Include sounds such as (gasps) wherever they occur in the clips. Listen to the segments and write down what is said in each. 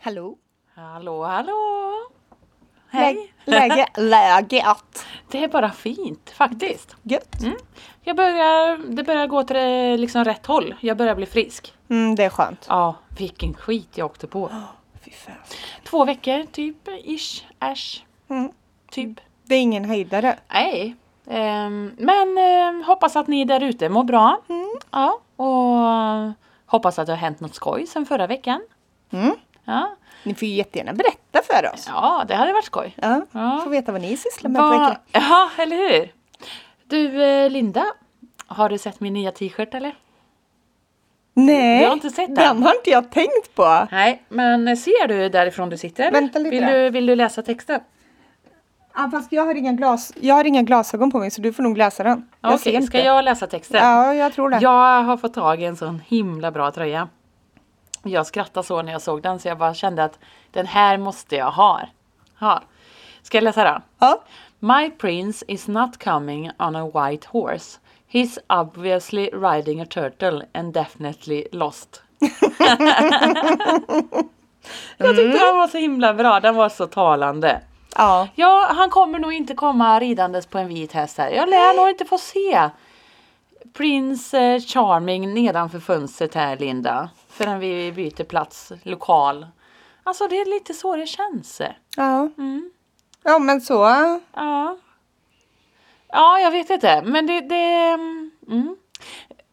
Hallå? Hallå, hallå! Hej! Lä- (laughs) Läge, läget? Det är bara fint faktiskt. Gött. Mm. Jag börjar, det börjar gå till eh, liksom rätt håll. Jag börjar bli frisk. Mm, det är skönt. Ja, vilken skit jag åkte på. Fy fan. Två veckor typ, ish, ash, Mm. typ. Det är ingen höjdare. Nej. Ehm, men eh, hoppas att ni där ute mår bra. Mm. Ja, och hoppas att det har hänt något skoj sen förra veckan. Mm. Ja, Ni får ju jättegärna berätta för oss. ja det hade varit skoj. Ja. Ja. Får veta vad ni sysslar med på Va, veckan. ja, eller hur? Du eh, Linda, har du sett min nya t-shirt eller? Nej, Jag har inte sett den. den har inte jag tänkt på. Nej, men ser du därifrån du sitter? Vänta lite vill, då. du, vill du läsa texten? Ja, fast jag har, inga glas, jag har inga glasögon på mig så du får nog läsa den. Jag Okej, ser ska inte. jag läsa texten? Ja, jag tror det. Jag har fått tag i en sån himla bra tröja. Jag skrattade så när jag såg den så jag bara kände att den här måste jag ha. ha. Ska jag läsa den? Ja. My prince is not coming on a white horse. He's obviously riding a turtle and definitely lost. (laughs) jag tyckte den var så himla bra, den var så talande. ja. Ja, han kommer nog inte komma ridandes på en vit häst här. Jag lär nog inte få se Prince eh, Charming nedanför fönstret här Linda. Förrän vi byter plats, lokal. Alltså det är lite så det känns. eh. Ja. ja, men så. Ja. Ja, jag vet inte. Men det... det mm.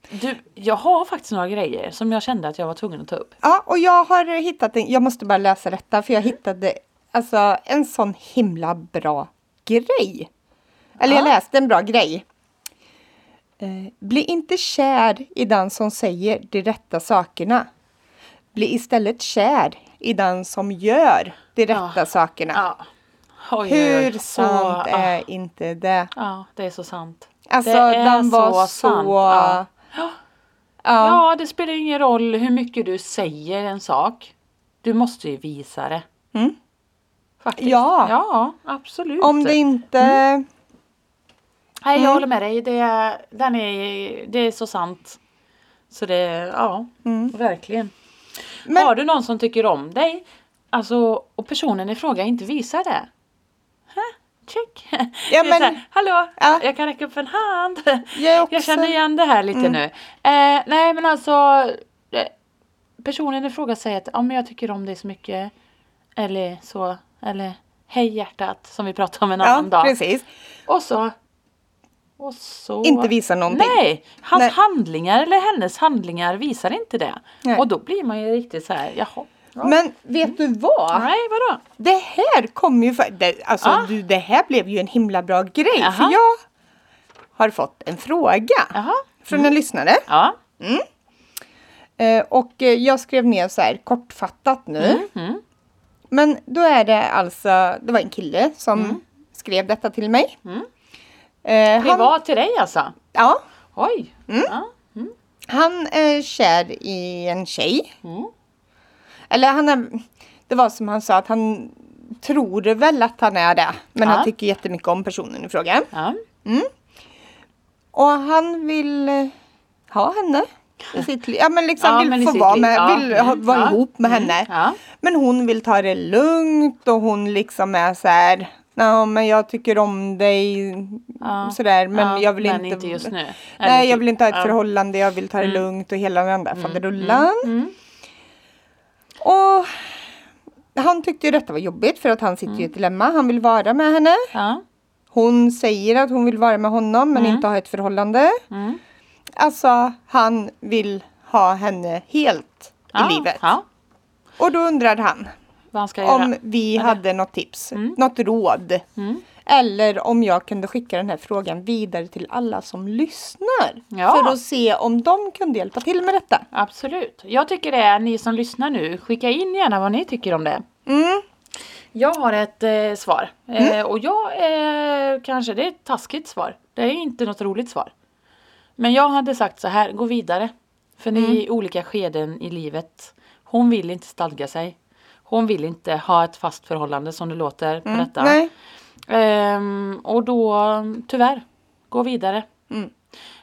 du, jag har faktiskt några grejer som jag kände att jag var tvungen att ta upp. Ja, och jag har hittat en, jag måste bara läsa detta för jag hittade alltså en sån himla bra grej. Eller jag Ja. läste en bra grej. Eh, bli inte kär i den som säger de rätta sakerna. Bli istället kär i den som gör de rätta sakerna. Ja. Ah. Oj, oj, oj. Hur sant Så, är ja. inte det? Ja, det är så sant. Alltså Det är den var så... så sant, Ah. ja. ja. Ja, det spelar ju ingen roll hur mycket du säger en sak. Du måste ju visa det. Mm. Faktiskt. Ja. ja, absolut. Om det inte... Mm. Nej, Mm. jag håller med dig. Det, är- den är, det är så sant. Så det, ja, Mm. verkligen. Men- Har du någon som tycker om dig alltså, och personen i fråga inte visar det? Hä? Check! (laughs) Ja, det är så men- här, Hallå, Ja. jag kan räcka upp en hand. Jag, är också... Mm. Jag känner igen det här lite nu. Eh, nej men alltså. eh, Personen i fråga säger att ja men jag tycker om dig så mycket. Eller så. Eller hej hjärtat som vi pratade om en annan Ja, dag. precis. Och så. Och så. Inte visa någonting. Nej! Hans Nej. handlingar eller hennes handlingar visar inte det. Nej. Och då blir man ju riktigt så här jaha. Men vet du vad? Nej vadå? Det här kom ju för, det, alltså Ah. du, det här blev ju en himla bra grej. För Jaha. jag har fått en fråga Jaha. från en lyssnare. Ja. Eh, Och eh, jag skrev ner så här kortfattat nu. Mm. Men då är det alltså, det var en kille som skrev detta till mig. Mm. Eh, Han, Mm. Privat till dig alltså? ja, Oj. Ja. han är kär i en tjej. Mm. Eller han är, det var som han sa att han tror väl att han är det. Men Ja. han tycker jättemycket om personen i fråga. ja. Och han vill eh, ha henne i sitt liv. Ja men liksom Ja, vill men i få sitt vara liv, med, ja. vill ha, Mm, vara ja. Mm. ihop med henne. ja. Men hon vill ta det lugnt och hon liksom är så här. "Ja, men jag tycker om dig. Ja. Sådär men Ja, jag vill men inte. inte just nu. Eller Nej jag typ, vill inte ha ett ja. Mm. förhållande. Jag vill ta det lugnt och hela den där faderullan. Och han tyckte ju detta var jobbigt för att han sitter ju i Mm. ett dilemma. Han vill vara med henne. typ- Ja. Hon säger att hon vill vara med honom men inte ha ett förhållande. Mm. Alltså, han vill ha henne helt Ja, i livet. Ja. Och då undrade han Vad han ska om göra. vi hade något tips, något råd. Mm. Eller om jag kunde skicka den här frågan vidare till alla som lyssnar. Ja. För att se om de kunde hjälpa till med detta. Absolut. Jag tycker det är ni som lyssnar nu, skicka in gärna vad ni tycker om det. Mm. Jag har ett eh, svar. Eh, och jag eh, kanske, det är ett taskigt svar. Det är inte något roligt svar. Men jag hade sagt så här, gå vidare. För ni Mm. är i olika skeden i livet. Hon vill inte stadga sig. Hon vill inte ha ett fast förhållande som det låter på detta. Mm. Nej. Ehm, och då, tyvärr, gå vidare. Mm.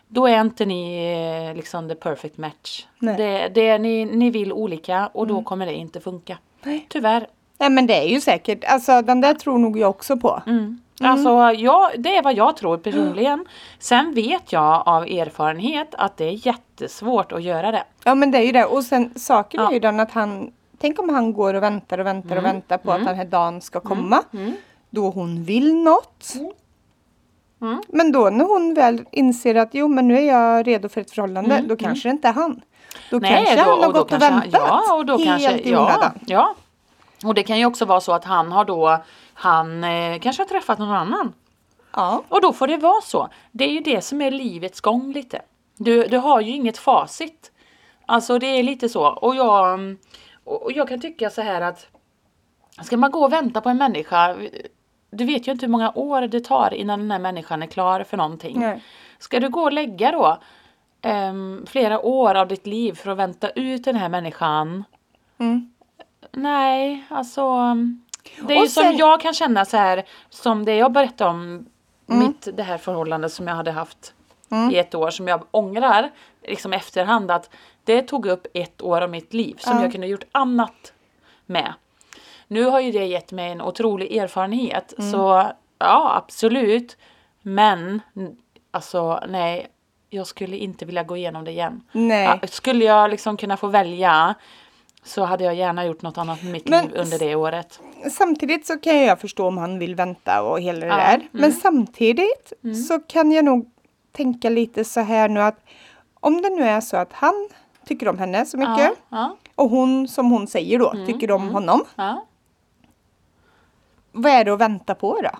Då är inte ni eh, liksom the perfect match. Nej. Mm. Det, det, är ni, ni vill olika och då kommer det inte funka. Nej. Tyvärr. Nej men det är ju säkert, alltså den där tror nog jag också på. Mm. Alltså, ja, det är vad jag (gasps) tror personligen. Sen vet jag av erfarenhet att det är jättesvårt att göra det. Ja men det är ju det och sen saken är ju den att han Tänk om han går och väntar och väntar Mm. och väntar på att den här dagen ska komma. Då hon vill något. Mm. Men då när hon väl inser att jo men nu är jag redo för ett förhållande, då kanske det inte är han. Då kanske han har och Mm. då gått och kanske han- väntat. Ja, och då helt kanske, i ja, onödan. ja. Och det kan ju också vara så att han har då, han eh, kanske har träffat någon annan. ja. Och då får det vara så. Det är ju det som är livets gång lite. Du, du har ju inget facit. Alltså det är lite så. Och jag, mm, och och jag kan tycka så här att ska man gå och vänta på en människa. Du vet ju inte hur många år det tar innan den här människan är klar för någonting. Nej. Ska du gå och lägga då ehm, flera år av ditt liv för att vänta ut den här människan? Mm. Nej, alltså. mm, Det är Och ju som sen- jag kan känna så här, som det jag berättade om Mm. mitt det här förhållandet som jag hade haft i ett år som jag ångrar liksom efterhand att det tog upp ett år av mitt liv som Ja. jag kunde ha gjort annat med. Nu har ju det gett mig en otrolig erfarenhet Mm. så ja absolut men n- alltså nej jag skulle inte vilja gå igenom det igen. Nej. Ja, skulle jag liksom kunna få välja så hade jag gärna gjort något annat med mitt Men- liv under det året. Samtidigt så kan jag förstå om han vill vänta och hela det Ja, Mm. där. Men samtidigt så kan jag nog tänka lite så här nu att om det nu är så att han tycker om henne så mycket Ja, Mm. ja, och hon som hon säger då tycker om honom. ja. Vad är det att vänta på då?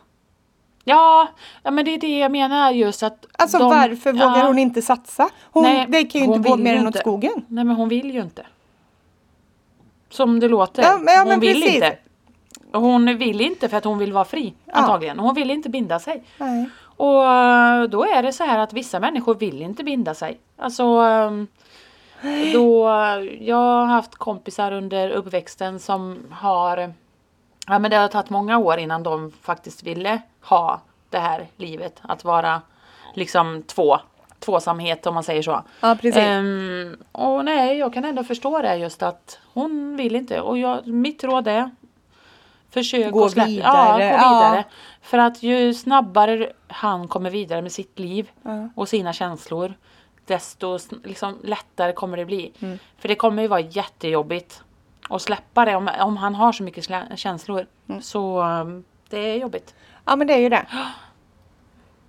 Ja, ja, men det är det jag menar just att... Alltså de- varför vågar ja. hon inte satsa? Hon, Nej, det kan ju hon inte gå vill mer ju än åt inte. skogen. Nej men hon vill ju inte. Som det låter. Ja, men- ja, hon men vill precis. inte. Hon vill inte för att hon vill vara fri antagligen. Hon vill inte binda sig. Nej. Och eh, då är det så här att vissa människor vill inte binda sig. Alltså ehm, då, eh, jag har haft kompisar under uppväxten som har, ja men det har tagit många år innan de faktiskt ville ha det här livet. Att vara liksom två, tvåsamhet om man säger så. Ja precis. Ehm, och nej, jag kan ändå förstå det just att hon vill inte. Och jag, mitt råd är försök Gå att släppa. Ja, gå vidare, ja. vidare. För att ju snabbare han kommer vidare med sitt liv Ja. och sina känslor desto sn- liksom, lättare kommer det bli. Mm. För det kommer ju vara jättejobbigt att släppa det om, om han har så mycket slä- känslor. Mm. Så ehm, det är jobbigt. Ja men det är ju det.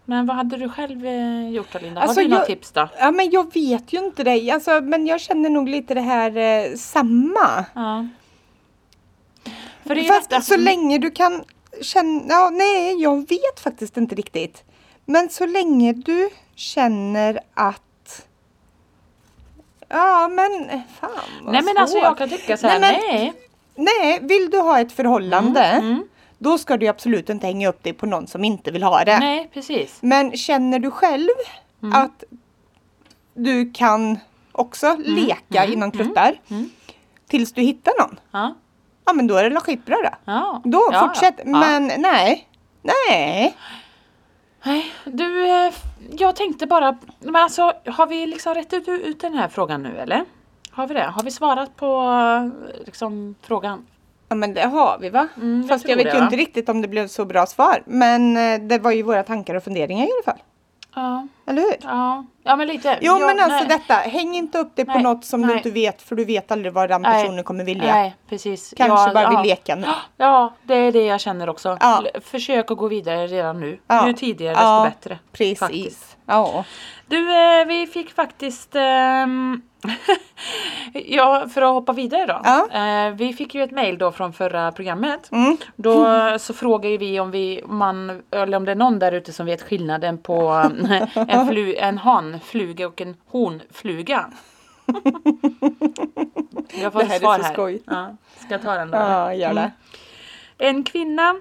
Men vad hade du själv eh, gjort då Linda? Alltså, har du några jag- tips då? Ja men jag vet ju inte dig. Alltså, men jag känner nog lite det här eh, samma. Ja. För det är Mm. ju Fast detta- så länge du kan känna, ja, nej jag vet faktiskt inte riktigt. Men så länge du känner att, ja men fan vad Nej men alltså svårt. jag kan tycka såhär, nej. Nej, men- Nej, vill du ha ett förhållande mm. då ska du absolut inte hänga upp dig på någon som inte vill ha det. nej Mm. precis. Men känner du själv att du kan också leka inom kluttar mm. tills du hittar någon. Ja. Ja men då är det väl skitbra då. Ja. Då ja, fortsätt. ja. Ja. Men nej. Nej. Nej, du, eh, jag tänkte bara, men alltså har vi liksom rätt ut, ut den här frågan nu eller? Har vi det? Har vi svarat på eh, liksom, frågan? Ja men det har vi va? Mm, jag Fast jag tror vet det, ju va? inte riktigt om det blev så bra svar. Men eh, det var ju våra tankar och funderingar i alla fall. Ja, Eller hur? ja, ja men lite. Jo Ja, men alltså nej. detta, häng inte upp dig på Nej, något som nej. du inte vet för du vet aldrig vad den Nej, personen kommer vilja. Nej, precis. Kanske Ja, bara ja. vill leka nu. Ja, det är det jag känner också. Ja. L- Försök att gå vidare redan nu. Ja. Ju tidigare desto Ja, bättre. faktiskt. Precis. Ja. Du, eh, vi fick faktiskt... ehm, (laughs) ja, för att hoppa vidare då. Ja. Eh, vi fick ju ett mejl då från förra programmet. Mm. Då eh, så frågar ju vi om vi, om man, eller om det är någon där ute som vet skillnaden på eh, en, flu, en hanfluga och en (laughs) honfluga. Jag får Det här är svar så här. skoj. Ja, ska jag ta den då? ja, gör det. En kvinna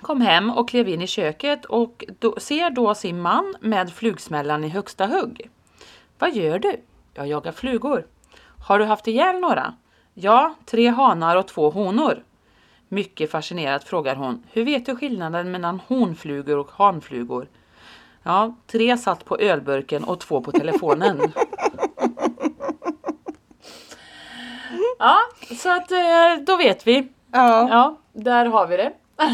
kom hem och klev in i köket och då, ser då sin man med flugsmällan i högsta hugg. Vad gör du? Jag jagar flugor. Har du haft ihjäl några? Ja, tre hanar och två honor. Mycket fascinerat frågar hon. Hur vet du skillnaden mellan honflugor och hanflugor? Ja, tre satt på ölburken och två på telefonen. Ja, så att eh, då vet vi. Ja. Ja, där har vi det. (laughs)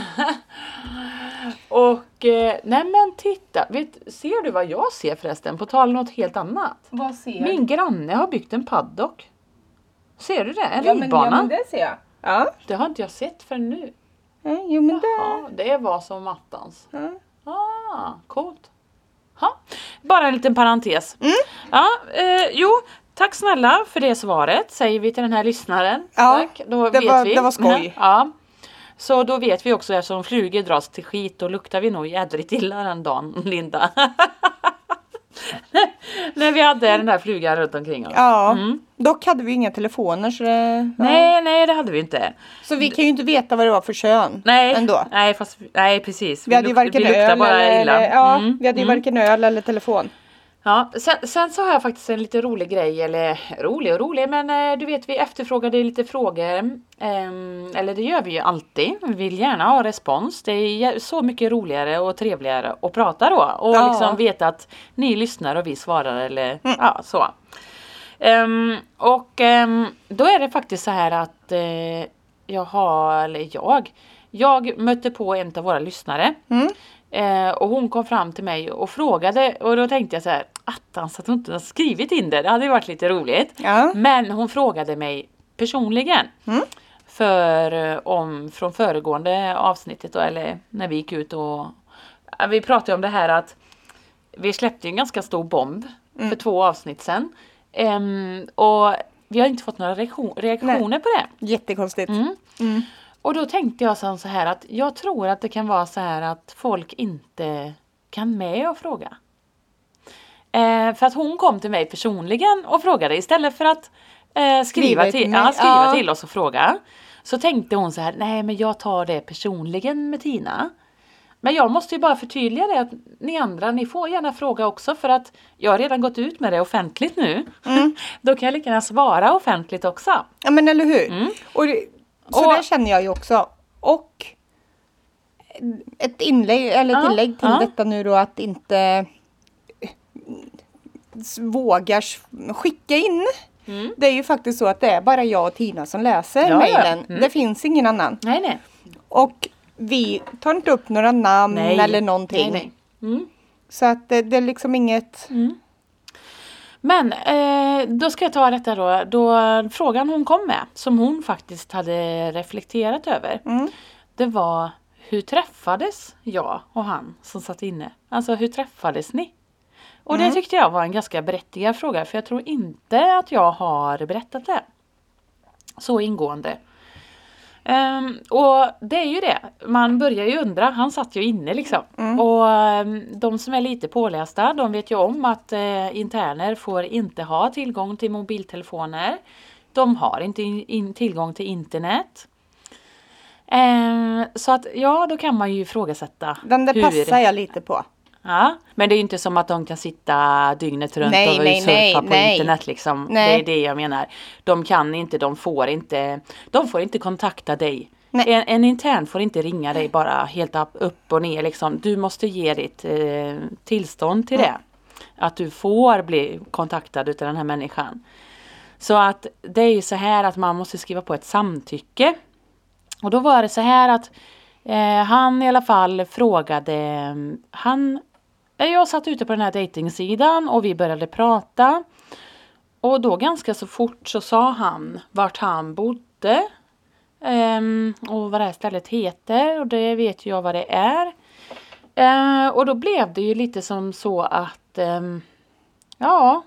Och eh, nej men titta, vet, ser du vad jag ser förresten? På tal om något helt annat. Vad ser Min granne har byggt en paddock. Ser du det? En ja, men, ja, ridbana. men det... det ser jag. Ja. har inte jag sett förrän nu. Nej, Jo, men det. Ja, det var som attans. Ja. Ah, coolt. Ha. Bara en liten parentes. Mm. Ja, eh, jo, tack snälla för det svaret säger vi till den här lyssnaren. Ja, tack. Då det vet var- vi. det var skoj. (laughs) Ja. Så då vet vi också eftersom flugor dras till skit då luktar vi nog jädrigt illa den dagen Linda. (laughs) När vi hade den där flugan runt omkring oss. Ja. Mm. Dock hade vi inga telefoner så det... ja. Nej, nej det hade vi inte. Så vi kan ju inte veta vad det var för kön Nej, ändå. nej, fast, nej precis. Vi hade ju luk- varken vi luktar öl bara eller, illa. eller, ja, Mm, vi hade ju mm. varken öl eller telefon. Ja, sen, sen så har jag faktiskt en lite rolig grej, eller rolig och rolig, men eh, du vet vi efterfrågade lite frågor. ehm, eller det gör vi ju alltid. Vi vill gärna ha respons. Det är jä- så mycket roligare och trevligare att prata då. Och Ja. liksom veta att ni lyssnar och vi svarar eller ja, så. Ehm, och ehm, då är det faktiskt så här att eh, jag har, eller jag, jag mötte på en av våra lyssnare. Mm. Eh, och hon kom fram till mig och frågade och då tänkte jag så här, attans att hon inte har skrivit in det, det hade ju varit lite roligt. Ja. Men hon frågade mig personligen. Mm. För eh, om från föregående avsnittet då, eller när vi gick ut och ja, vi pratade om det här att vi släppte ju en ganska stor bomb för Mm. två avsnitt sedan. Ehm, och vi har inte fått några reaktion, reaktioner på det. Jättekonstigt. Mm. Och då tänkte jag sen så här att jag tror att det kan vara så här att folk inte kan med och fråga. Eh, för att hon kom till mig personligen och frågade istället för att Skriva eh, skriva, till till, mig, ja, skriva ja. till oss och fråga. Så tänkte hon så här, nej men jag tar det personligen med Tina. Men jag måste ju bara förtydliga det att ni andra, ni får gärna fråga också för att jag har redan gått ut med det offentligt nu. Mm. (laughs) Då kan jag lika gärna svara offentligt också. Ja men eller hur. Och det, så Mm. Och- det känner jag ju också. Och ett inlägg eller Ja, tillägg till ja. detta nu då att inte s- vågar s- skicka in. Det är ju faktiskt så att det är bara jag och Tina som läser Mm. Ja, ja. mejlen. Mm. Det finns ingen annan. Nej, nej. Och vi tar inte upp några namn nej. Mm, eller någonting. Nej, Mm. nej. Mm. Så att det, det är liksom inget... Men eh, då ska jag ta detta då, då frågan hon kom med, som hon faktiskt hade reflekterat över. Mm. Det var hur träffades jag och han som satt inne? Alltså hur träffades ni? Och Mm. det tyckte jag var en ganska berättigad fråga för jag tror inte att jag har berättat det. Så ingående. Ehm, och det är ju det, man börjar ju undra, han satt ju inne liksom. Mm. Och ehm, de som är lite pålästa de vet ju om att eh, interner får inte ha tillgång till mobiltelefoner. De har inte in, in, tillgång till internet. Ehm, så att ja, då kan man ju ifrågasätta. Den där hur- passar jag lite på. Ja, men det är ju inte som att de kan sitta dygnet runt Nej, och nej, surfa nej, på nej. internet liksom. Nej. Det är det jag menar. De kan inte, de får inte, de får inte kontakta dig. Nej. En, en intern får inte ringa dig bara helt upp- upp och ner liksom. Du måste ge ditt eh, tillstånd till det. Att du får bli kontaktad utav den här människan. Så att det är ju så här att man måste skriva på ett samtycke. Och då var det så här att eh, han i alla fall frågade, mm, han, eh, jag satt ute på den här dejtingsidan och vi började prata. Och då ganska så fort så sa han vart han bodde. ehm, och vad det här stället heter och det vet ju jag vad det är. Eh, och då blev det ju lite som så att ehm, ja,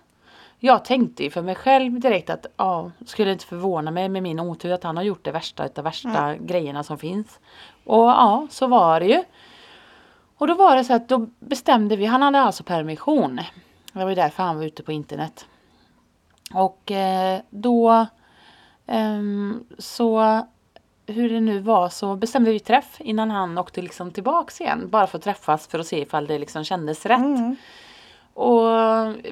jag tänkte ju för mig själv direkt att ja, skulle inte förvåna mig med min otur att han har gjort det värsta utav värsta grejerna som finns. Och ja, så var det ju. Och då var det så att då bestämde vi, han hade alltså permission. Det var ju därför han var ute på internet. Och eh, då ehm, så hur det nu var så bestämde vi träff innan han åkte liksom tillbaks igen. Bara för att träffas för att se ifall det liksom kändes rätt. Mm. Och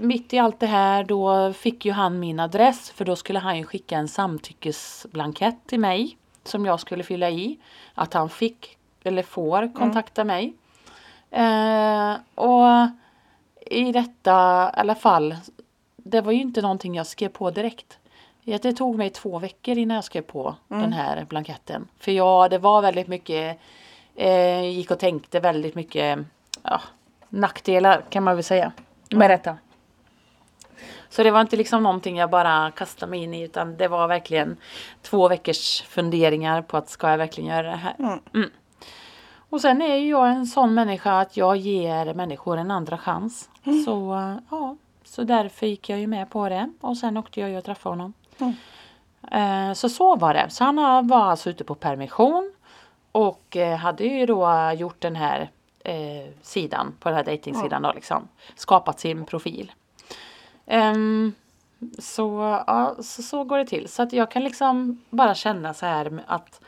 mitt i allt det här då fick ju han min adress för då skulle han ju skicka en samtyckesblankett till mig som jag skulle fylla i. Att han fick eller får kontakta mig. Eh, och i detta i alla fall, det var ju inte någonting jag skrev på direkt. att Det tog mig två veckor innan jag skrev på den här blanketten. För jag, det var väldigt mycket, eh, gick och tänkte väldigt mycket ja, nackdelar kan man väl säga. Med detta. Så det var inte liksom någonting jag bara kastade mig in i utan det var verkligen två veckors funderingar på att ska jag verkligen göra det här? Mm. Och sen är ju jag en sån människa att jag ger människor en andra chans. Så eh, ja, så därför gick jag ju med på det och sen åkte jag ju och träffade honom. Mm. Eh, Så så var det. Så han har- var alltså ute på permission och eh, hade ju då eh, gjort den här eh, sidan, på den här dejtingsidan då liksom. Skapat sin profil. Ehm, så, ja, så så går det till. Så att jag kan liksom bara känna så här med att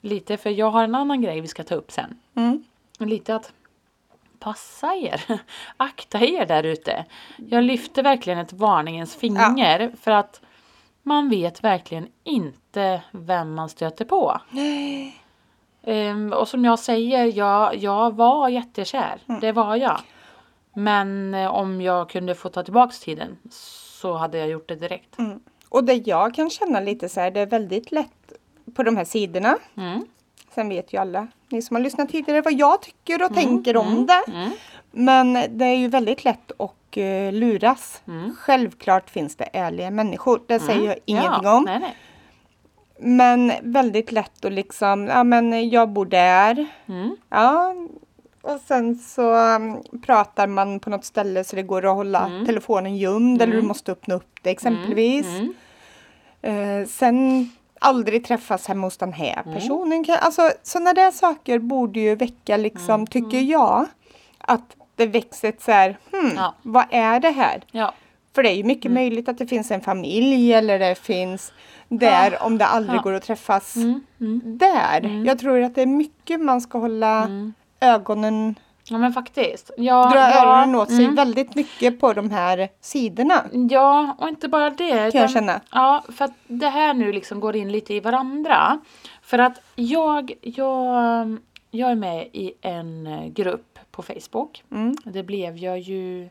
lite, för jag har en annan grej vi ska ta upp sen. Mm. Lite att passa er, (laughs) akta er där ute. Jag lyfter verkligen ett varningens finger för att man vet verkligen inte vem man stöter på. Nej. Ehm, och som jag säger, jag, jag var jättekär. Mm. Det var jag. Men eh, om jag kunde få ta tillbaks tiden så hade jag gjort det direkt. Mm. Och det jag kan känna lite så här, det är väldigt lätt på de här sidorna. Mm. Sen vet ju alla ni som har lyssnat tidigare vad jag tycker och tänker om det. Mm. Men det är ju väldigt lätt att eh, luras. Mm. Självklart finns det ärliga människor, det säger jag ingenting ja. om. Nej, nej. Men väldigt lätt att liksom, ja men jag bor där. Mm. Ja. Och sen så um, pratar man på något ställe så det går att hålla Mm. telefonen gömd eller du måste öppna upp det exempelvis. Mm. Eh, sen aldrig träffas hemma hos den här Mm. personen. Kan, alltså sådana där saker borde ju väcka liksom, Mm. tycker jag, att det växer ett så här, hmm, Ja. vad är det här? Ja. För det är ju Mm. mycket möjligt att det finns en familj eller det finns där om det aldrig Ja. går att träffas Mm. Mm. där. Jag tror att det är mycket man ska hålla ögonen, ja, men faktiskt. Ja, dra ja. Mm. öronen åt sig väldigt mycket på de här sidorna. Ja, och inte bara det. Kan jag känna. Ja, för att det här nu liksom går in lite i varandra. För att jag, jag, jag är med i en eh, grupp på Facebook. Mm. Det blev jag ju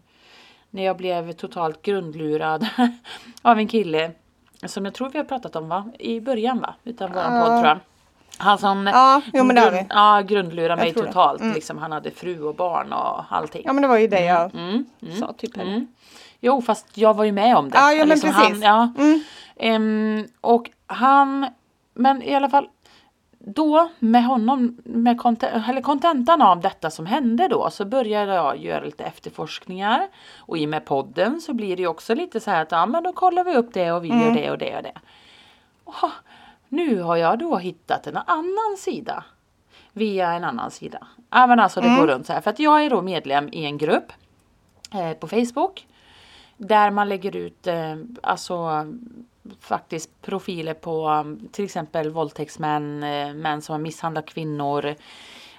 när jag blev totalt grundlurad (laughs) av en kille. Som jag tror vi har pratat om va? I början va? Utan våran Ja. podd tror jag. Han som Ja, jo, men det har vi. grund, ja, grundlurade mig tror det. Mm. totalt. Liksom, han hade fru och barn och allting. Ja men det var ju det jag Mm. sa typ. här. Mm. Jo, fast jag var ju med om det. Ja, Liksom ja, men han, precis. ja. Mm. Ehm, och han, men i alla fall då med honom, med konte- eller kontentan av detta som hände då, så började jag göra lite efterforskningar. Och i och med podden så blir det ju också lite så här att ja, men då kollar vi upp det och vi gör det och det och det. Åh, nu har jag då hittat en annan sida. Via en annan sida. Ja men alltså det går runt så här. För att jag är då medlem i en grupp eh, på Facebook. Där man lägger ut eh, alltså faktiskt profiler på um, till exempel våldtäktsmän, eh, män som har misshandlat kvinnor.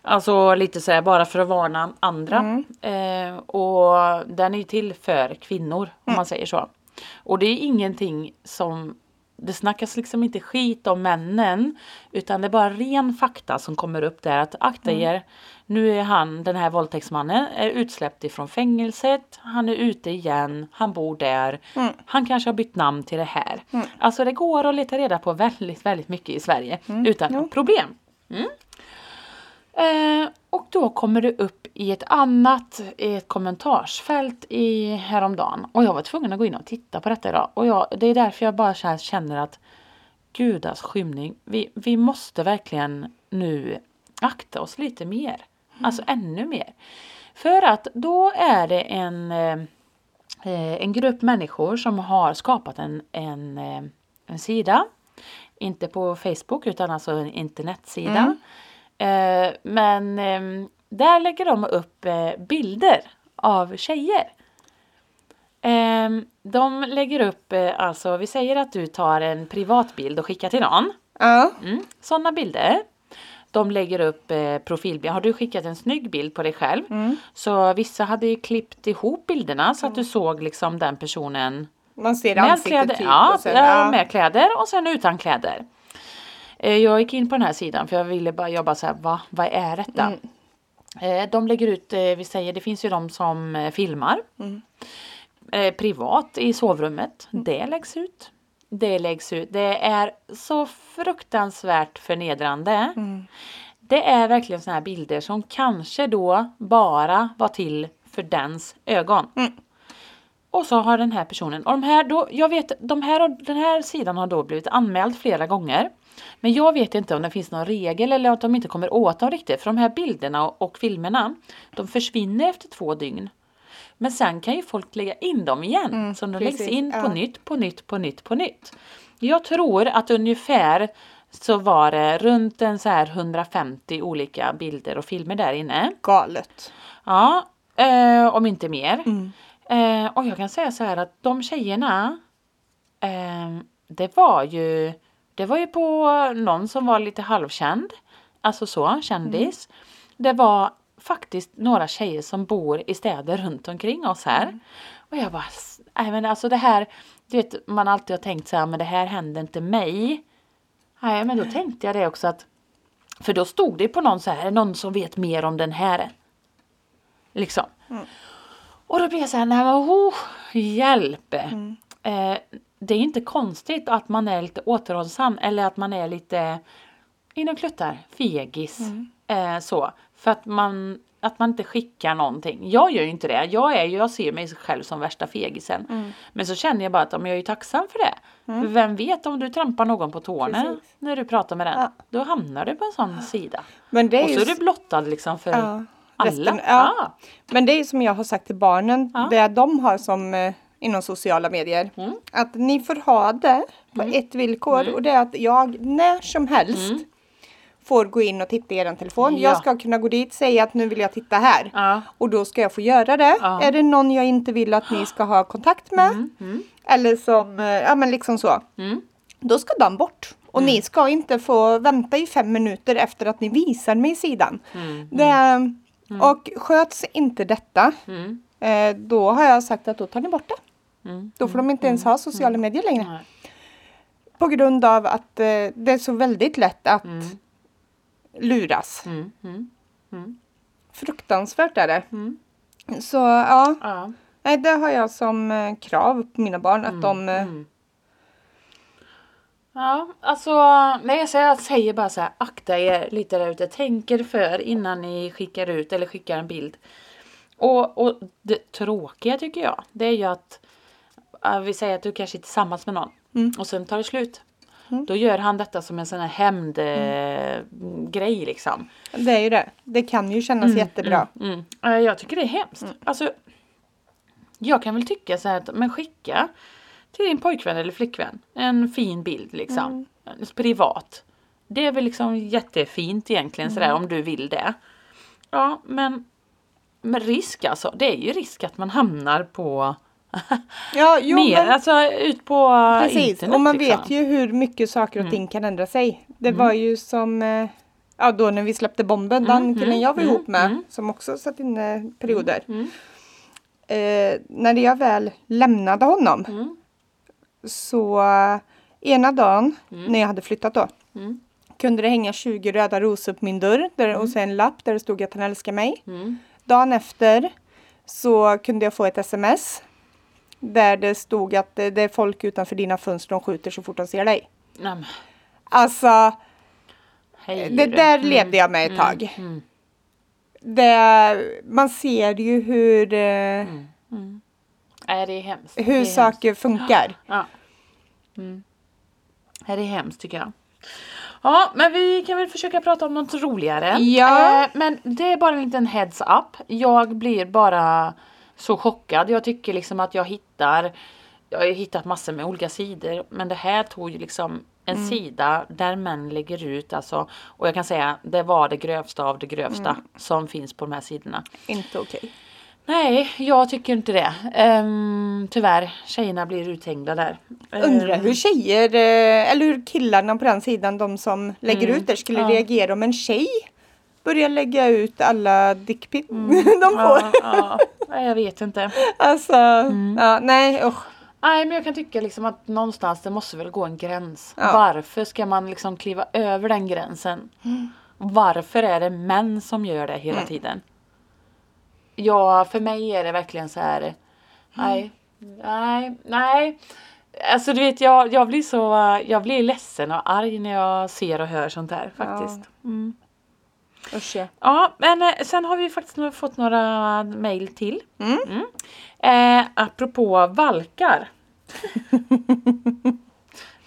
Alltså lite så här bara för att varna andra. Eh, och den är ju till för kvinnor om man säger så. Och det är ingenting som det snackas liksom inte skit om männen utan det är bara ren fakta som kommer upp där att akta er. Nu är han, den här våldtäktsmannen, är utsläppt ifrån fängelset. Han är ute igen. Han bor där. Han kanske har bytt namn till det här. Alltså det går att leta reda på väldigt, väldigt mycket i Sverige utan problem. Eh, och då kommer det upp i ett annat i ett kommentarsfält i häromdagen. Och jag var tvungen att gå in och titta på detta idag. Och jag, det är därför jag bara så här känner att gudars alltså, skymning, vi, vi måste verkligen nu akta oss lite mer. Alltså ännu mer. För att då är det en, eh, eh, en grupp människor som har skapat en, en, eh, en sida. Inte på Facebook utan alltså en internetsida. Eh, men ehm, där lägger de upp eh, bilder av tjejer. Ehm, de lägger upp, eh, alltså vi säger att du tar en privatbild och skickar till någon. Ja. Mm, sådana bilder. De lägger upp eh, profilbilder. Har du skickat en snygg bild på dig själv? Så vissa hade ju klippt ihop bilderna så att du såg liksom den personen Man ser med ansiktet kläder, typ. ja, och sen, ja, ja. med kläder och sen utan kläder. Eh, Jag gick in på den här sidan för jag ville bara, jag bara så här, va, vad är detta? Mm. Eh, De lägger ut, eh, vi säger, det finns ju de som Mm. eh, filmar. Eh, Privat i sovrummet, det läggs ut. det läggs ut. Det är så fruktansvärt förnedrande. Mm. Det är verkligen såna här bilder som kanske då bara var till för dens ögon. Och så har den här personen, och de här då, jag vet, de här, har- den här sidan har då blivit anmäld flera gånger. Men jag vet inte om det finns någon regel eller att de inte kommer åt dem riktigt. För de här bilderna och, och filmerna, de försvinner efter två dygn. Men sen kan ju folk lägga in dem igen. så de läggs Mm, precis, in på ja. nytt, på nytt, på nytt, på nytt. Jag tror att ungefär så var det runt en så här 150 olika bilder och filmer där inne. Galet. Ja, eh, om inte mer. Eh, och jag kan säga så här att de tjejerna, eh, det var ju det var ju på någon som var lite halvkänd, alltså så, kändis. Det var faktiskt några tjejer som bor i städer runt omkring oss här. Och jag bara, s- nej men alltså det här, du vet man alltid har tänkt så här, men det här händer inte mig. Nej men då tänkte jag det också att, för då stod det på någon så här, någon som vet mer om den här Liksom. Mm. Och då blir jag så här, nej men oh, hjälp! Mm. Eh, det är inte konstigt att man är lite återhållsam eller att man är lite inom kluttar, fegis. Mm. Eh, så. För att man, att man inte skickar någonting. Jag gör ju inte det. Jag, är, ju- jag ser mig själv som värsta fegisen. Mm. Men så känner jag bara att ja, men jag är ju tacksam för det. För Vem vet om du trampar någon på tårna Precis. när du pratar med den. Ja. Då hamnar du på en sån sida. Men det är Och ju så är s- du blottad liksom för Ja, alla. resten- ja. Ah. Men det är ju som jag har sagt till barnen, det de har som eh, inom sociala medier. Mm. Att ni får ha det på ett villkor och det är att jag när som helst får gå in och titta i er telefon. Mm. Ja. Ah. Jag ska kunna gå dit och säga att nu vill jag titta här. Ja. Och då ska jag få göra det. Ja. Är det någon jag inte vill att ni ska ha kontakt med. Mm, Eller som, eh, ja men liksom så. Då ska de bort. Och Mm. ni ska inte få vänta i fem minuter efter att ni visar mig sidan. Mm. Det, Mm. Och sköts inte detta, mm. eh, då har jag sagt att då tar ni bort det. Då Mm. får de inte ens ha sociala medier längre. Nej. På grund av att eh, det är så väldigt lätt att luras. Mm, mm, Fruktansvärt är det. Så ja, ja. nej, det har jag som eh, krav på mina barn att Mm. de... eh, ja, alltså nej, så jag säger bara så här, akta er lite där ute. Tänk er för innan ni skickar ut eller skickar en bild. Och, och det tråkiga tycker jag, det är ju att äh, vi säger att du kanske är tillsammans med någon och sen tar det slut. Då gör han detta som en sån här Mm. hämndgrej eh, grej liksom. Det är ju det. Det kan ju kännas jättebra. Mm. Eh, Jag tycker det är hemskt. Mm. Alltså, jag kan väl tycka så här att men skicka till din pojkvän eller flickvän en fin bild Mm. liksom. Privat. Det är väl liksom jättefint egentligen sådär Mm. om du vill det. Ja men, men risk alltså. Det är ju risk att man hamnar på Ja, (laughs) jo, mer, men- alltså ut på Precis, internet. och man liksom. Mm. vet ju hur mycket saker och ting kan ändra sig. Det var ju som eh, ja, då när vi släppte bomben, Mm, den killen jag var ihop med som också satt inne perioder. Mm, Eh, när jag väl lämnade honom Mm. så eh, ena dagen Mm. när jag hade flyttat då kunde det hänga 20 röda rosor på min dörr där, Mm. och så en lapp där det stod att han älskar mig. Dagen efter så kunde jag få ett sms där det stod att det, det är folk utanför dina fönster de skjuter så fort de ser dig. Nej, men, Alltså, hej, det du. där levde jag med ett tag. Det, man ser ju hur, eh, Nej, det är hemskt. det är hur hemskt. saker funkar. Ja. Mm. Det är hemskt tycker jag. Ja, men vi kan väl försöka prata om något roligare. Ja. Eh, men det är bara en liten heads up. Jag blir bara så chockad. Jag tycker liksom att jag hittar, jag har ju hittat massor med olika sidor, men det här tog ju liksom en sida där män lägger ut alltså, och jag kan säga det var det grövsta av det grövsta som finns på de här sidorna. Inte okej. Nej, jag tycker inte det. Ehm, tyvärr, tjejerna blir uthängda där. Undrar hur tjejer, eh, eller hur killarna på den sidan, de som lägger ut det, skulle reagera om en tjej börjar lägga ut alla dickpics (laughs) de får. Ja, ja, Nej, jag vet inte. Alltså, ja, nej usch. Nej, men jag kan tycka liksom att någonstans det måste väl gå en gräns. Ja. Varför ska man liksom kliva över den gränsen? Varför är det män som gör det hela tiden? Ja, för mig är det verkligen så här. Nej, nej, nej. Alltså du vet jag, jag blir så, eh, jag blir ledsen och arg när jag ser och hör sånt här faktiskt. Ja, mm. Usch ja. ja men eh, sen har vi faktiskt nu fått några mejl till. Mm. Eh, (laughs) apropå valkar.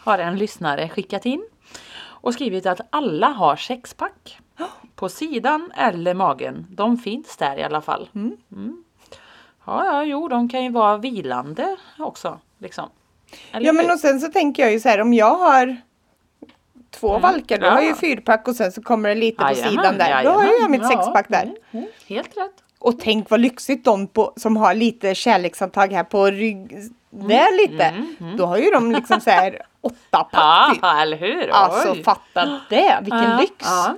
har en lyssnare skickat in och skrivit att alla har sexpack. På sidan eller magen. De finns där i alla fall. Mm. Mm. Ja, ja, jo, de kan ju vara vilande också. Liksom. Eller ja hur? men och sen så tänker jag ju så här om jag har två valkar, då har jag ju Mm. Ja. fyrpack och sen så kommer det lite på Jajamän, sidan där. Då har jajamän, jag mitt ja. sexpack där. Mm, mm, Helt rätt. Och tänk vad lyxigt de på, som har lite kärlekshandtag här på rygg, Mm. där lite. Då har ju de liksom så (laughs) här åtta pack. Ja, till. eller hur? Alltså Oj. fatta det, vilken Ja, lyx! ja.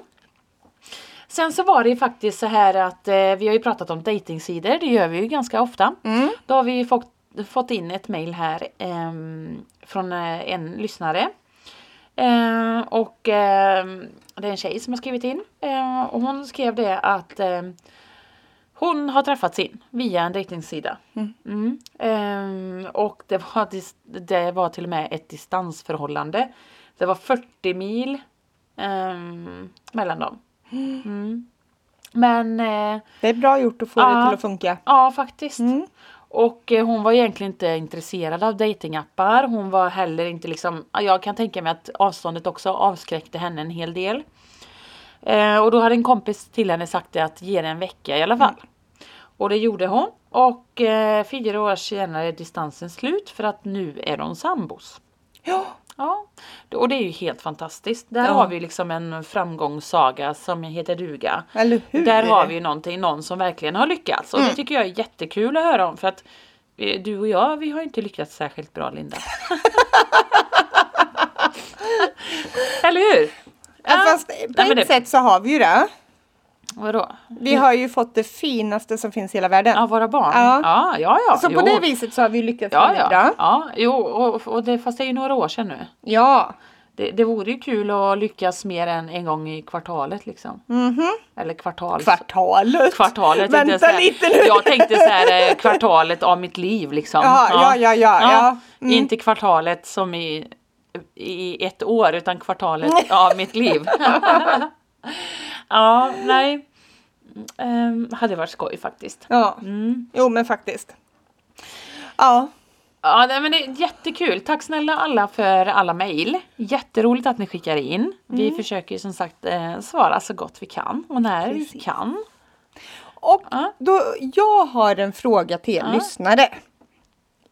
Sen så var det ju faktiskt så här att eh, vi har ju pratat om datingsidor, det gör vi ju ganska ofta. Mm. Då har vi ju fått, fått in ett mejl här ehm, från eh, en lyssnare. Eh, och ehm, det är en tjej som har skrivit in eh, och hon skrev det att ehm, hon har träffat sin via en dejtingsida. Mm. Mm. Ehm, och det var, dis- det var till och med ett distansförhållande. Det var 40 mil ehm, mellan dem. Mm. Men eh, Det är bra gjort att få det Ja. till att funka. ja, faktiskt. Mm. Och eh, hon var egentligen inte intresserad av datingappar. Hon var heller inte liksom, ja, jag kan tänka mig att avståndet också avskräckte henne en hel del. Eh, och då hade en kompis till henne sagt det att ge det en vecka i alla Mm. fall. Och det gjorde hon. Och eh, fyra år senare är distansen slut för att nu är de sambos. Ja, Ja, och det är ju helt fantastiskt. Där Ja. har vi liksom en framgångssaga som heter duga. eller hur? Mm. Där har vi ju någonting, någon som verkligen har lyckats. Och det tycker jag är jättekul att höra om. För att eh, du och jag, vi har ju inte lyckats särskilt (laughs) bra Linda. Eller hur? Ja, fast på nej, men ett det- sätt så har vi ju det. Vadå? Vi har ju fått det finaste som finns i hela världen. Ja, våra barn? Ja. Ja, ja, ja. så på jo. det viset så har vi ju lyckats Ja, väldigt ja. bra. ja jo, och, och det, fast det är ju några år sedan nu. Ja. Det, det vore ju kul att lyckas mer än en gång i kvartalet liksom. Mm. Eller kvartal. Mhm. Kvartalet. Kvartalet. tänkte jag Vänta säga. lite nu. Jag tänkte så här eh, kvartalet av mitt liv liksom. Ja, ja, ja, ja, ja. Mm. Inte kvartalet som i, i ett år utan (laughs) kvartalet av mitt liv. (laughs) ja, nej. Um, hade varit skoj faktiskt. Mm. Ja. Jo men faktiskt. Ja. Ja, nej, men det är jättekul. Tack snälla alla för alla mejl. Jätteroligt att ni skickar in. Mm. Vi försöker ju som sagt eh, svara så gott vi kan och när vi Precis. kan. Och Ja. då, jag har en fråga till er lyssnare.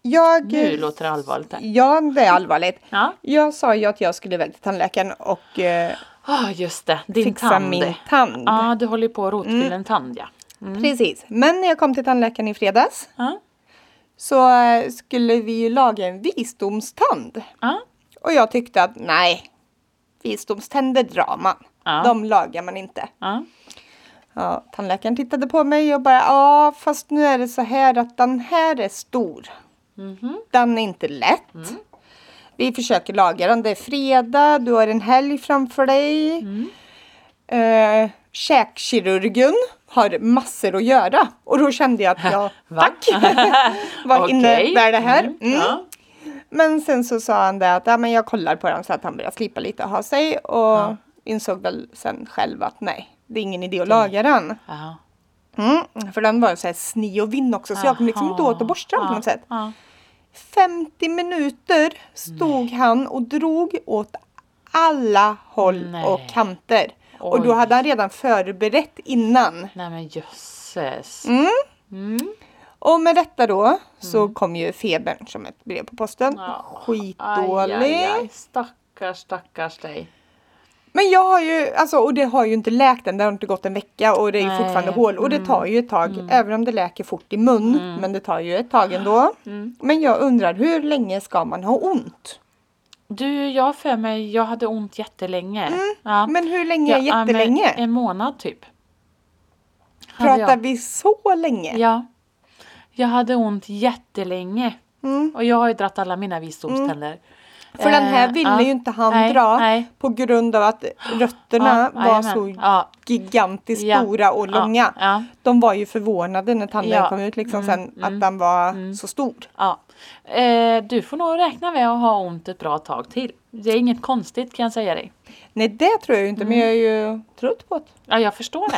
Jag, Nu låter det allvarligt. Här. Ja, det är allvarligt. Ja, Jag sa ju att jag skulle iväg till tandläkaren och eh, ah, just det. Din fixa tand. min tand. Mm. Ja, Mm. du håller ju på att rotfylla en tand ja. Precis. Men när jag kom till tandläkaren i fredags Ja, så eh, skulle vi ju laga en visdomstand. ja, Och jag tyckte att nej, visdomständer drar man. Ja. De lagar man inte. ja. Ja, tandläkaren tittade på mig och bara ja, fast nu är det så här att den här är stor. Mm-hmm. Den är inte lätt. Mm. Vi försöker laga den. Det är fredag, du har en helg framför dig. Mm. Eh, käkkirurgen har massor att göra. Och då kände jag att jag, (laughs) Va? tack, vad Okej. innebär det här? Mm. Mm. Ja. Men sen så sa han det att ja, men jag kollar på den så att han började slipa lite och ha sig. Och insåg väl sen själv att nej, det är ingen idé att laga den. Ja. Mm, för den var så här sni och vinn också så jag kom liksom inte åt att borsta den på Ja, något sätt. Ja. 50 minuter stod han och drog åt alla håll Nej. och kanter. Och då Oj. hade han redan förberett innan. Nej men jösses. Mm, Och med detta då så kom ju febern som ett brev på posten. Mm. Ja. Skitdålig. Aj, aj, aj. Stackars, stackars dig. Men jag har ju, alltså, och det har ju inte läkt än, det har inte gått en vecka och det är ju Nej. Mm. fortfarande hål och det tar ju ett tag, även om det läker fort i mun, men det tar ju ett tag ändå. Mm. Men jag undrar, hur länge ska man ha ont? Du, jag har för mig, jag hade ont jättelänge. Ja. Mm, Men hur länge är Ja, men jättelänge? En månad typ. Hade Pratar jag. vi så länge? Ja. Jag hade ont jättelänge. Mm. Och jag har ju dratt alla mina visdomständer. För den här Eh, ville ja. ju inte han Nej, dra nej. på grund av att rötterna Ja, var jajamän. så Ja. gigantiskt Ja, stora och ja, långa. ja. De var ju förvånade när tanden Ja. Mm, kom ut liksom sen att den var så stor. Ja, Eh, du får nog räkna med att ha ont ett bra tag till. Det är inget konstigt kan jag säga dig. Nej, det tror jag ju inte, men jag är Mm. ju trött på det. Ja, jag förstår det.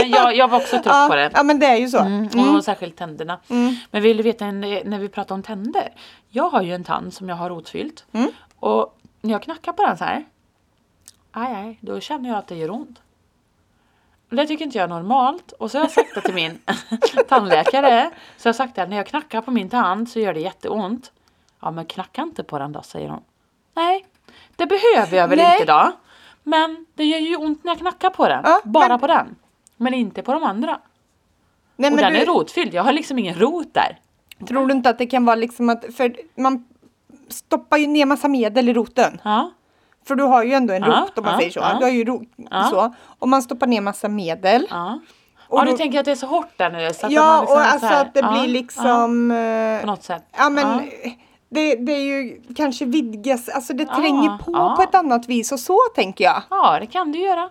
Men jag, jag var också trött ja, på det. Ja, men det är ju så. Mm, och särskilt tänderna. Mm. Men vill du veta en- eh, när vi pratar om tänder? Jag har ju en tand som jag har rotfyllt. Mm. Och när jag knackar på den så här. Aj, aj, då känner jag att det gör ont. Och Det tycker inte jag är normalt. Och så har jag sagt det till min (laughs) tandläkare. Så jag har sagt det, när jag knackar på min tand så gör det jätteont. Ja, men knacka inte på den då, säger hon. Nej, det behöver jag väl Nej. inte då. Men det gör ju ont när jag knackar på den. Ja, Bara men- på den. Men inte på de andra. Nej, Och men den du, är rotfylld. Jag har liksom ingen rot där. tror du inte att det kan vara liksom att, för man stoppar ju ner massa medel i roten. Ja. För du har ju ändå en Ja, rot om man ja, säger så. ja. Du har ju rot Ja. så. Och man stoppar ner massa medel. Ja. Och ja, du då- tänker att det är så hårt där nu. Så att man Ja, liksom och så alltså här- att det ja, blir liksom... eh, Ja, på något sätt. Ja men Ja. Det, det är ju kanske vidgas, alltså det Ja, tränger på ja. på ett annat vis och så tänker jag. Ja, det kan du göra.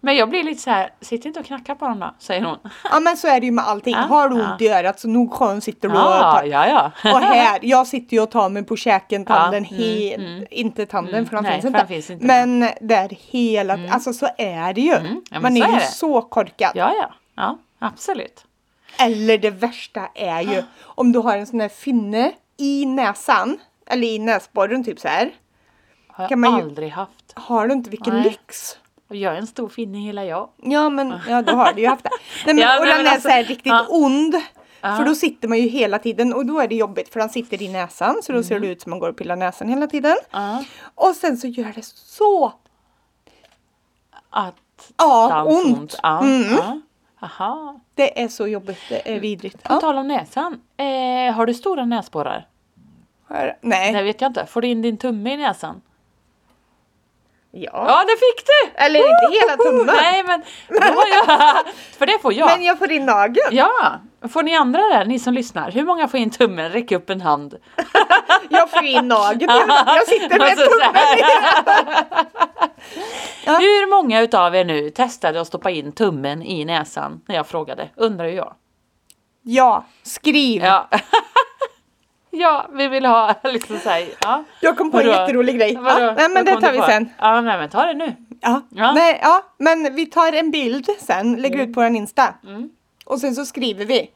Men jag blir lite så här, sitt inte och knacka på dem då, säger (laughs) hon. Ja men så är det ju med allting. Ja, Har du ja. ont i örat så nog skön sitter du och Ja, tar. ja, ja. Och här, jag sitter ju och tar mig på käken, tanden, mm, he- inte tanden för den nej, finns, för inte. den finns inte. Mm. Men där hela, alltså så är det ju. ja, men Man så är är ju det. så korkad. (laughs) Ja, ja. Ja, absolut. Eller det värsta är ju om du har en sån här finne i näsan, eller i näsborren typ så här. Har jag Kan man ju- aldrig haft. Har du inte, vilken Nej. lyx! Och jag är en stor finne hela jag. Ja men ja, då har du ju haft det. Nej, men, Ja, och nej, den men är alltså- så här riktigt ja. ond. Ja. För då sitter man ju hela tiden och då är det jobbigt för den sitter i näsan så då ser det ut som man går och pillar näsan hela tiden. Mm. Ja. Och sen så gör det så Att ja, dans ont. Ja, Mm. ja. Aha. Det är så jobbigt, det Mm. är vidrigt. På Ja. tal om näsan. Eh, har du stora näsborrar? Här- Det Nej. vet jag inte. Får du in din tumme i näsan? Ja. Ja, det fick du! Eller inte hela tummen. Nej, men... Då har jag, (laughs) för det får jag. Men jag får in nageln. Ja! Får ni andra där, ni som lyssnar, hur många får in tummen? Räck upp en hand. Jag får in nageln. Jag (laughs) sitter med Alltså, så tummen. här. (laughs) Ja. Hur många utav er nu testade att stoppa in tummen i näsan när jag frågade? Undrar ju jag. Ja, skriv. Ja. (laughs) ja, vi vill ha liksom så här, ja. Jag kom på en Vadå? jätterolig grej. Vadå? Ja, nej men Vad det kom tar du vi på? sen. Ja, nej men ta det nu. Ja. Ja. Mm. Nej, ja, men vi tar en bild sen, lägger ut på vår Insta. Och sen så skriver vi.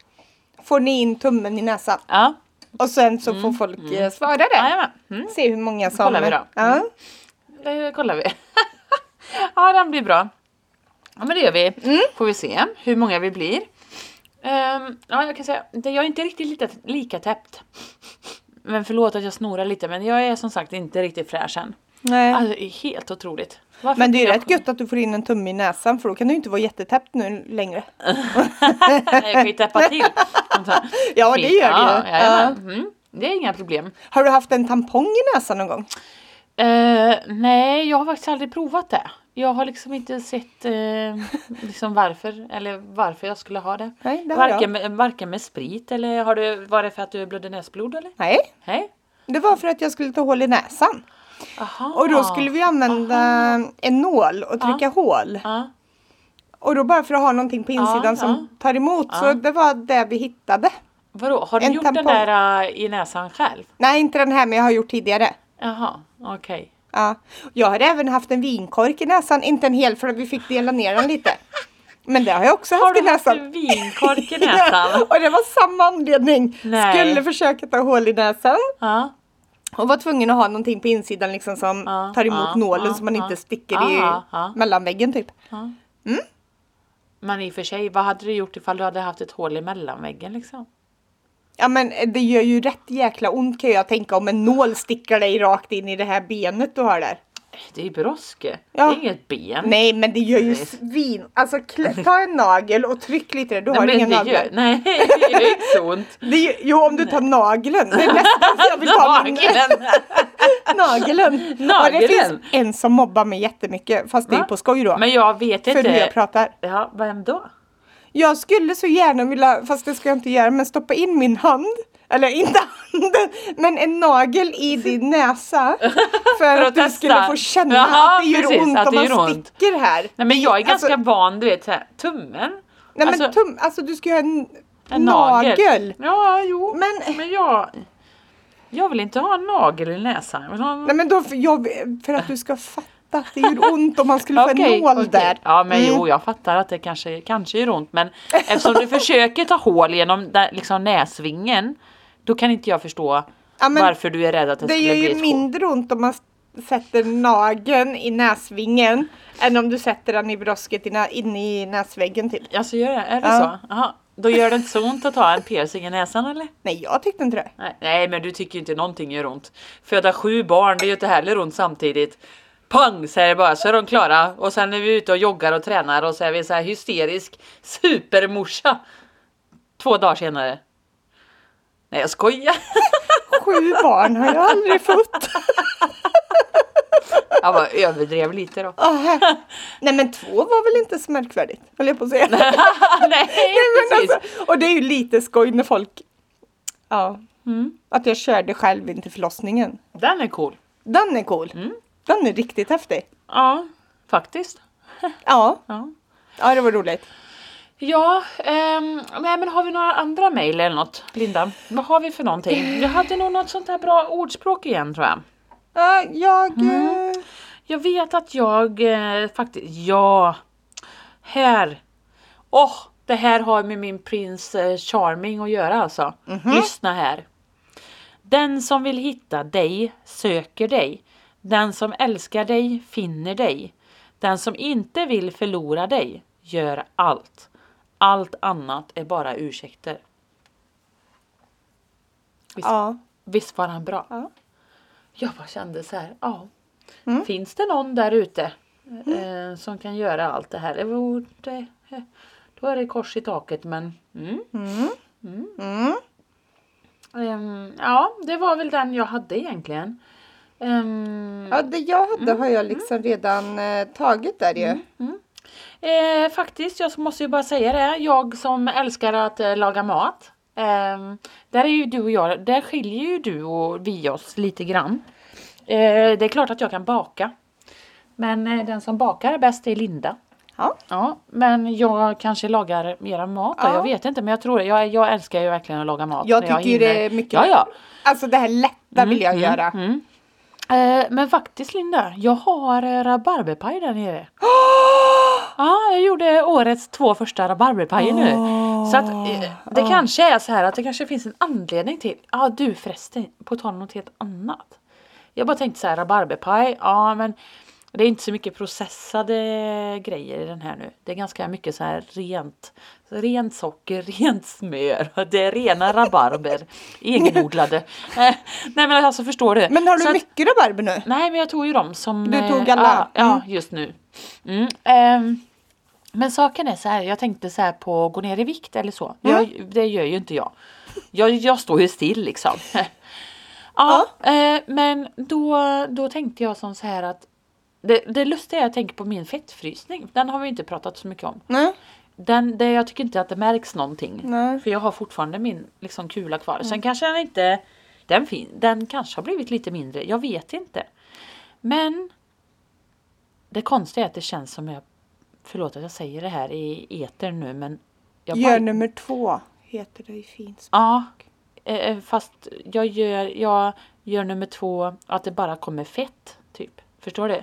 Får ni in tummen i näsan? Ja, Och sen så får folk eh, svara där. jajamän. Mm. Se hur många som... Kollar vi då. Mm. Ja. Det Eh, kollar vi. (laughs) ja, den blir bra. Ja, men det gör vi. Mm. Får vi se hur många vi blir. Ehm, ja, jag kan säga, det- jag är inte riktigt lika, lika täppt. Men förlåt att jag snorar lite, men jag är som sagt inte riktigt fräsch än. Nej. Alltså, det är helt otroligt. Varför Mm. men det är ju jag- (laughs) rätt gött att du får in en tumme i näsan för då kan du ju inte vara jättetäppt nu längre. jag kan ju täppa till. Ja, det Fint. gör ja, det ju. ja. Mm, det är inga problem. Har du haft en tampong i näsan någon gång? Eh, nej, jag har faktiskt aldrig provat det. Jag har liksom inte (laughs) sett eh, liksom varför eller varför jag skulle ha det. Nej, det har jag. varken, med, varken med sprit eller har du, var det för att du blödde näsblod eller? Nej, Nej. det var för att jag skulle ta hål i näsan. Aha. Och då skulle vi använda en nål och Ah. trycka hål. Ja. Och då bara för att ha någonting på insidan Ja, som tar emot. Ah. Så det var det vi hittade. Vadå, har du En gjort den tampong. där eh, i näsan själv? Nej, inte den här men jag har gjort tidigare. Jaha, okej. Ja. Jag har även haft en vinkork i näsan. Inte en hel för vi fick dela ner den lite. Men det har jag också Har haft i du haft näsan. en (laughs) vinkork i näsan? och det var samma anledning. Nej. Skulle försöka ta hål i näsan ja. och var tvungen att ha någonting på insidan liksom som Ja, tar emot ja, nålen ja, så man ja. inte sticker Ja, i ja, ja. mellanväggen typ. Men i och för sig, vad hade du gjort ifall du hade haft ett hål i mellanväggen liksom? Ja men det gör ju rätt jäkla ont kan jag tänka om en nål sticker dig rakt in i det här benet du har där. Det är ju broske. Ja. Det är inget ben. Nej men det gör ju Nej. svin. Alltså klä, ta en nagel och tryck lite där. Du har men ingen det nagel. Gör, (laughs) nej, det gör inte så ont. Det gör, jo om du tar nageln. Det är nästan så jag vill ta min (laughs) Nageln! (laughs) nageln. Och det Nageln. finns en som mobbar mig jättemycket. Fast det är Va? på skoj då. (laughs) Men jag vet för hur jag inte. pratar. Ja, vem då? Jag skulle så gärna vilja, fast det ska jag inte göra, men stoppa in min hand. Eller inte (laughs) handen, men en nagel i din (laughs) näsa. För att att du testa. skulle få känna Jaha, att det gör precis, ont att om det man gör ont. sticker här. Nej men jag är ganska Alltså- van, du vet såhär, tummen. Nej men Alltså- tum, alltså du ska göra en, En nagel. Ja, jo. Men- Men, jag... Jag vill inte ha en nagel i näsan. Jag vill ha en... Nej men då, för, jag, för att du ska fatta att det gör ont om man skulle få Okej, en nål okej. där. Mm. Ja men jo jag fattar att det kanske, kanske är ont men eftersom du försöker ta hål genom där, liksom näsvingen då kan inte jag förstå Ja, men varför du är rädd att det, Det skulle gör bli ju ett hål. mindre ont om man s- sätter nageln i näsvingen än om du sätter den i brosket i nä- inne i näsväggen typ. Alltså gör det, är det Ja. så? Aha. Då gör det inte så ont att ta en piercing i näsan eller? Nej, jag tyckte inte det. Nej, nej men du tycker ju inte någonting gör ont. Föda sju barn, det gör inte heller ont samtidigt. Pang säger det bara så är de klara och sen är vi ute och joggar och tränar och så är vi så här hysterisk supermorsa. Två dagar senare. Nej jag skojar. (laughs) Sju barn har jag aldrig fått. Jag bara överdrev lite då. (laughs) Åh, här. (laughs) Nej men två var väl inte så märkvärdigt, höll jag på att säga. (laughs) nej Men precis. alltså, och det är ju lite skoj när folk... Ja. Mm. Att jag körde själv in till förlossningen. Den är cool. Den är cool. Mm. Den är riktigt häftig. Ja faktiskt. Ja, Ja. ja det var roligt. Ja, ehm, nej, men har vi några andra mejl eller något? Linda, vad har vi för någonting? Jag hade nog något sånt här bra ordspråk igen tror jag. Ja, jag... Mm. eh, Jag vet att jag eh, faktiskt, ja. Här. Åh, det här har med min prins eh, Charming att göra alltså. Lyssna här. Den som vill hitta dig söker dig. Den som älskar dig finner dig. Den som inte vill förlora dig gör allt. Allt annat är bara ursäkter. Visst, Ja. visst var han bra? Ja. Jag bara kände så här, ja. Finns det någon där ute eh, som kan göra allt det här? Det vore- det- eh, Då är det kors i taket men mm. Mm. Ehm, Ja, det var väl den jag hade egentligen. Ehm, Ja, det jag hade har jag liksom Mm. redan eh, tagit där ju. Eh, faktiskt, jag måste ju bara säga det. Jag som älskar att eh, laga mat. Ehm, där är ju du och jag, där skiljer ju du och vi oss lite grann. Eh, det är klart att jag kan baka. Men eh, den som bakar bäst är Linda. Ja. Ja, men jag kanske lagar mera mat då, Ja. jag vet inte. Men jag tror jag, jag älskar ju verkligen att laga mat. Jag när tycker ju hinner. det är mycket Ja, ja. Alltså det här lätta vill jag göra. Mm. Eh, men faktiskt Linda, jag har eh, rabarberpaj (gasps) där nere. Ja, jag gjorde årets två första rabarberpajer nu. Så att eh, det kanske är så här att det kanske finns en anledning till. Ja, du förresten, på tal om något helt annat. Jag bara tänkte så här, rabarberpaj, ja men det är inte så mycket processade grejer i den här nu. Det är ganska mycket så här rent, rent socker, (laughs) rent smör. och Det är (laughs) rena rabarber, egenodlade. Eh, Nej men alltså förstår du? Men har du Så att- mycket rabarber nu? Nej men jag tog ju dem som... Du eh, tog alla? Ja, ja Mm. just nu. Mm. ehm, men saken är så här, jag tänkte så här på att gå ner i vikt eller så. Mm. Jag, det gör ju inte jag. Jag, jag står ju still liksom. (laughs) ja, eh, men då, då tänkte jag som så här att det, det lustiga är att jag tänker på min fettfrysning. Den har vi inte pratat så mycket om. Nej. Den, det, jag tycker inte att det märks någonting. Nej. För jag har fortfarande min liksom, kula kvar. Sen kanske den inte... Den, fin, den kanske har blivit lite mindre. Jag vet inte. Men det konstiga är att det känns som jag... Förlåt att jag säger det här i eter nu men... Jag Gör baj- nummer två, heter det i finsk. Ja. eh, eh, Fast jag gör, jag gör nummer två att det bara kommer fett. Typ. Förstår du?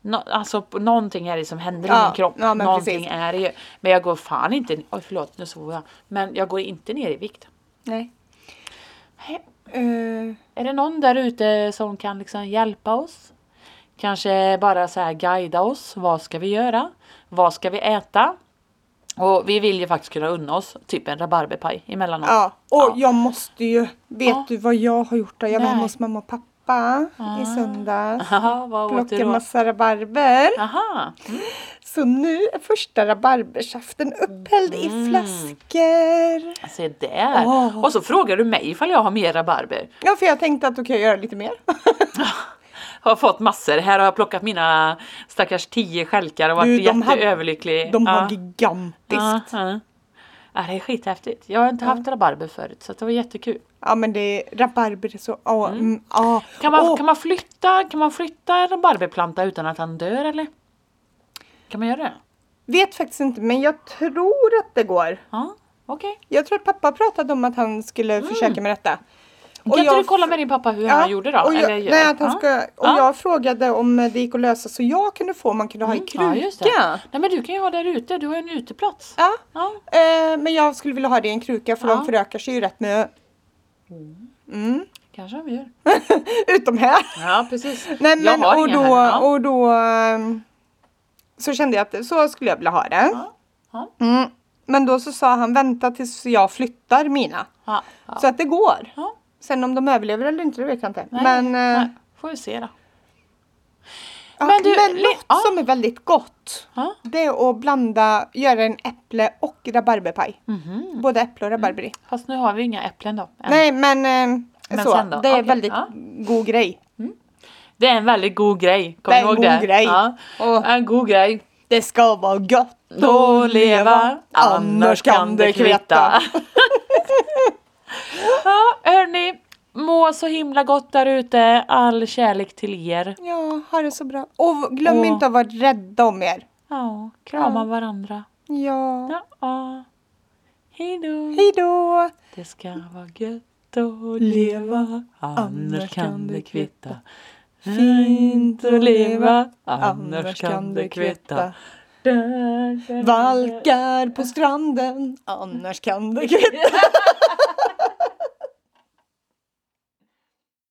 Nå, alltså på- någonting är det som händer i Ja, min kropp. ja, men någonting precis. är det ju. Men jag går fan inte... Oj förlåt nu svor jag. Men jag går inte ner i vikt. Nej. Nej. Eh, Är det någon där ute som kan liksom hjälpa oss? Kanske bara så här guida oss. Vad ska vi göra? Vad ska vi äta? Och vi vill ju faktiskt kunna unna oss typ en rabarberpaj emellanåt. (laughs) ja, och Ja. jag måste ju. Vet Ja. du vad jag har gjort då? Jag var Nej. Ah. hemma hos mamma och pappa i (laughs) söndags. Aha, vad åt du Plockade då? massa rabarber. Aha. Så nu är första rabarbersaften upphälld Mm. i flaskor. Se där! Åh. Och så frågar du mig ifall jag har mer rabarber. Ja, för jag tänkte att du kan göra (laughs) lite mer. Har fått massor. Här har jag ploccat mina stackars tio stjälkar och varit Du, de hade- jätteöverlycklig. De har ja. gigantiskt. ja, ja. ja, det är skithäftigt. Jag har inte haft rabarber förut så det var jättekul. Ja, men det är rabarber är så... Ja, mm. ja. Kan man, Och- kan man, flytta, kan man flytta en rabarberplanta utan att han dör eller? Kan man göra det? Vet faktiskt inte, men jag tror att det går. Ja, okej. Jag tror att pappa pratade om att han skulle försöka med detta. Mm. Kan inte jag- du kolla med din pappa hur han gjorde då? Och jag, Eller gör? nej, att han Ja. ska, och Ja. jag frågade om det gick att lösa så jag kunde få, man kunde ha i Mm, ja, just det. kruka. Ja, Nej men du kan ju ha där ute, du har ju en uteplats. Ja. eh, men jag skulle vilja ha det i en kruka för Ja. de förökar sig ju rätt med Mm. Kanske han gör. (laughs) Utom här. Ja precis. Nej, Jag men, har och, inga då, här, ja. och då ehm, så kände jag att det- så skulle jag vilja ha det. Ja, ja. Mm. Men då så sa han vänta tills jag flyttar mina. Ja, ja. Så att det går. Ja. Sen om de överlever eller inte det vet jag inte. Nej, men eh, nej, får vi se då. ja, Men men, du, Le- något ja. som är väldigt gott Ja. det är att blanda, göra en äpple och rabarberpaj. Mhm. Både äpple och rabarber i. Fast nu har vi inga äpplen då. än. Nej men, eh, Mm. Men så. sen då? Det är Okej, väldigt ja. god grej. Det är en väldigt god grej. Kom Det är en ihåg god det. grej. Ja. Och En god grej. det ska vara gott Då leva, annars kan det kvitta. (laughs) ja, hörni. Må så himla gott där ute. All kärlek till er. Ja, ha det så bra. Och glöm Åh. inte att vara rädda om er. Ja, krama Ja. varandra. Ja. Ja. ja. Hej då. Hej då! Det ska vara gött att leva, annars kan det kvitta. Fint att leva, annars kan det kvitta. Valkar på stranden, annars kan det kvitta.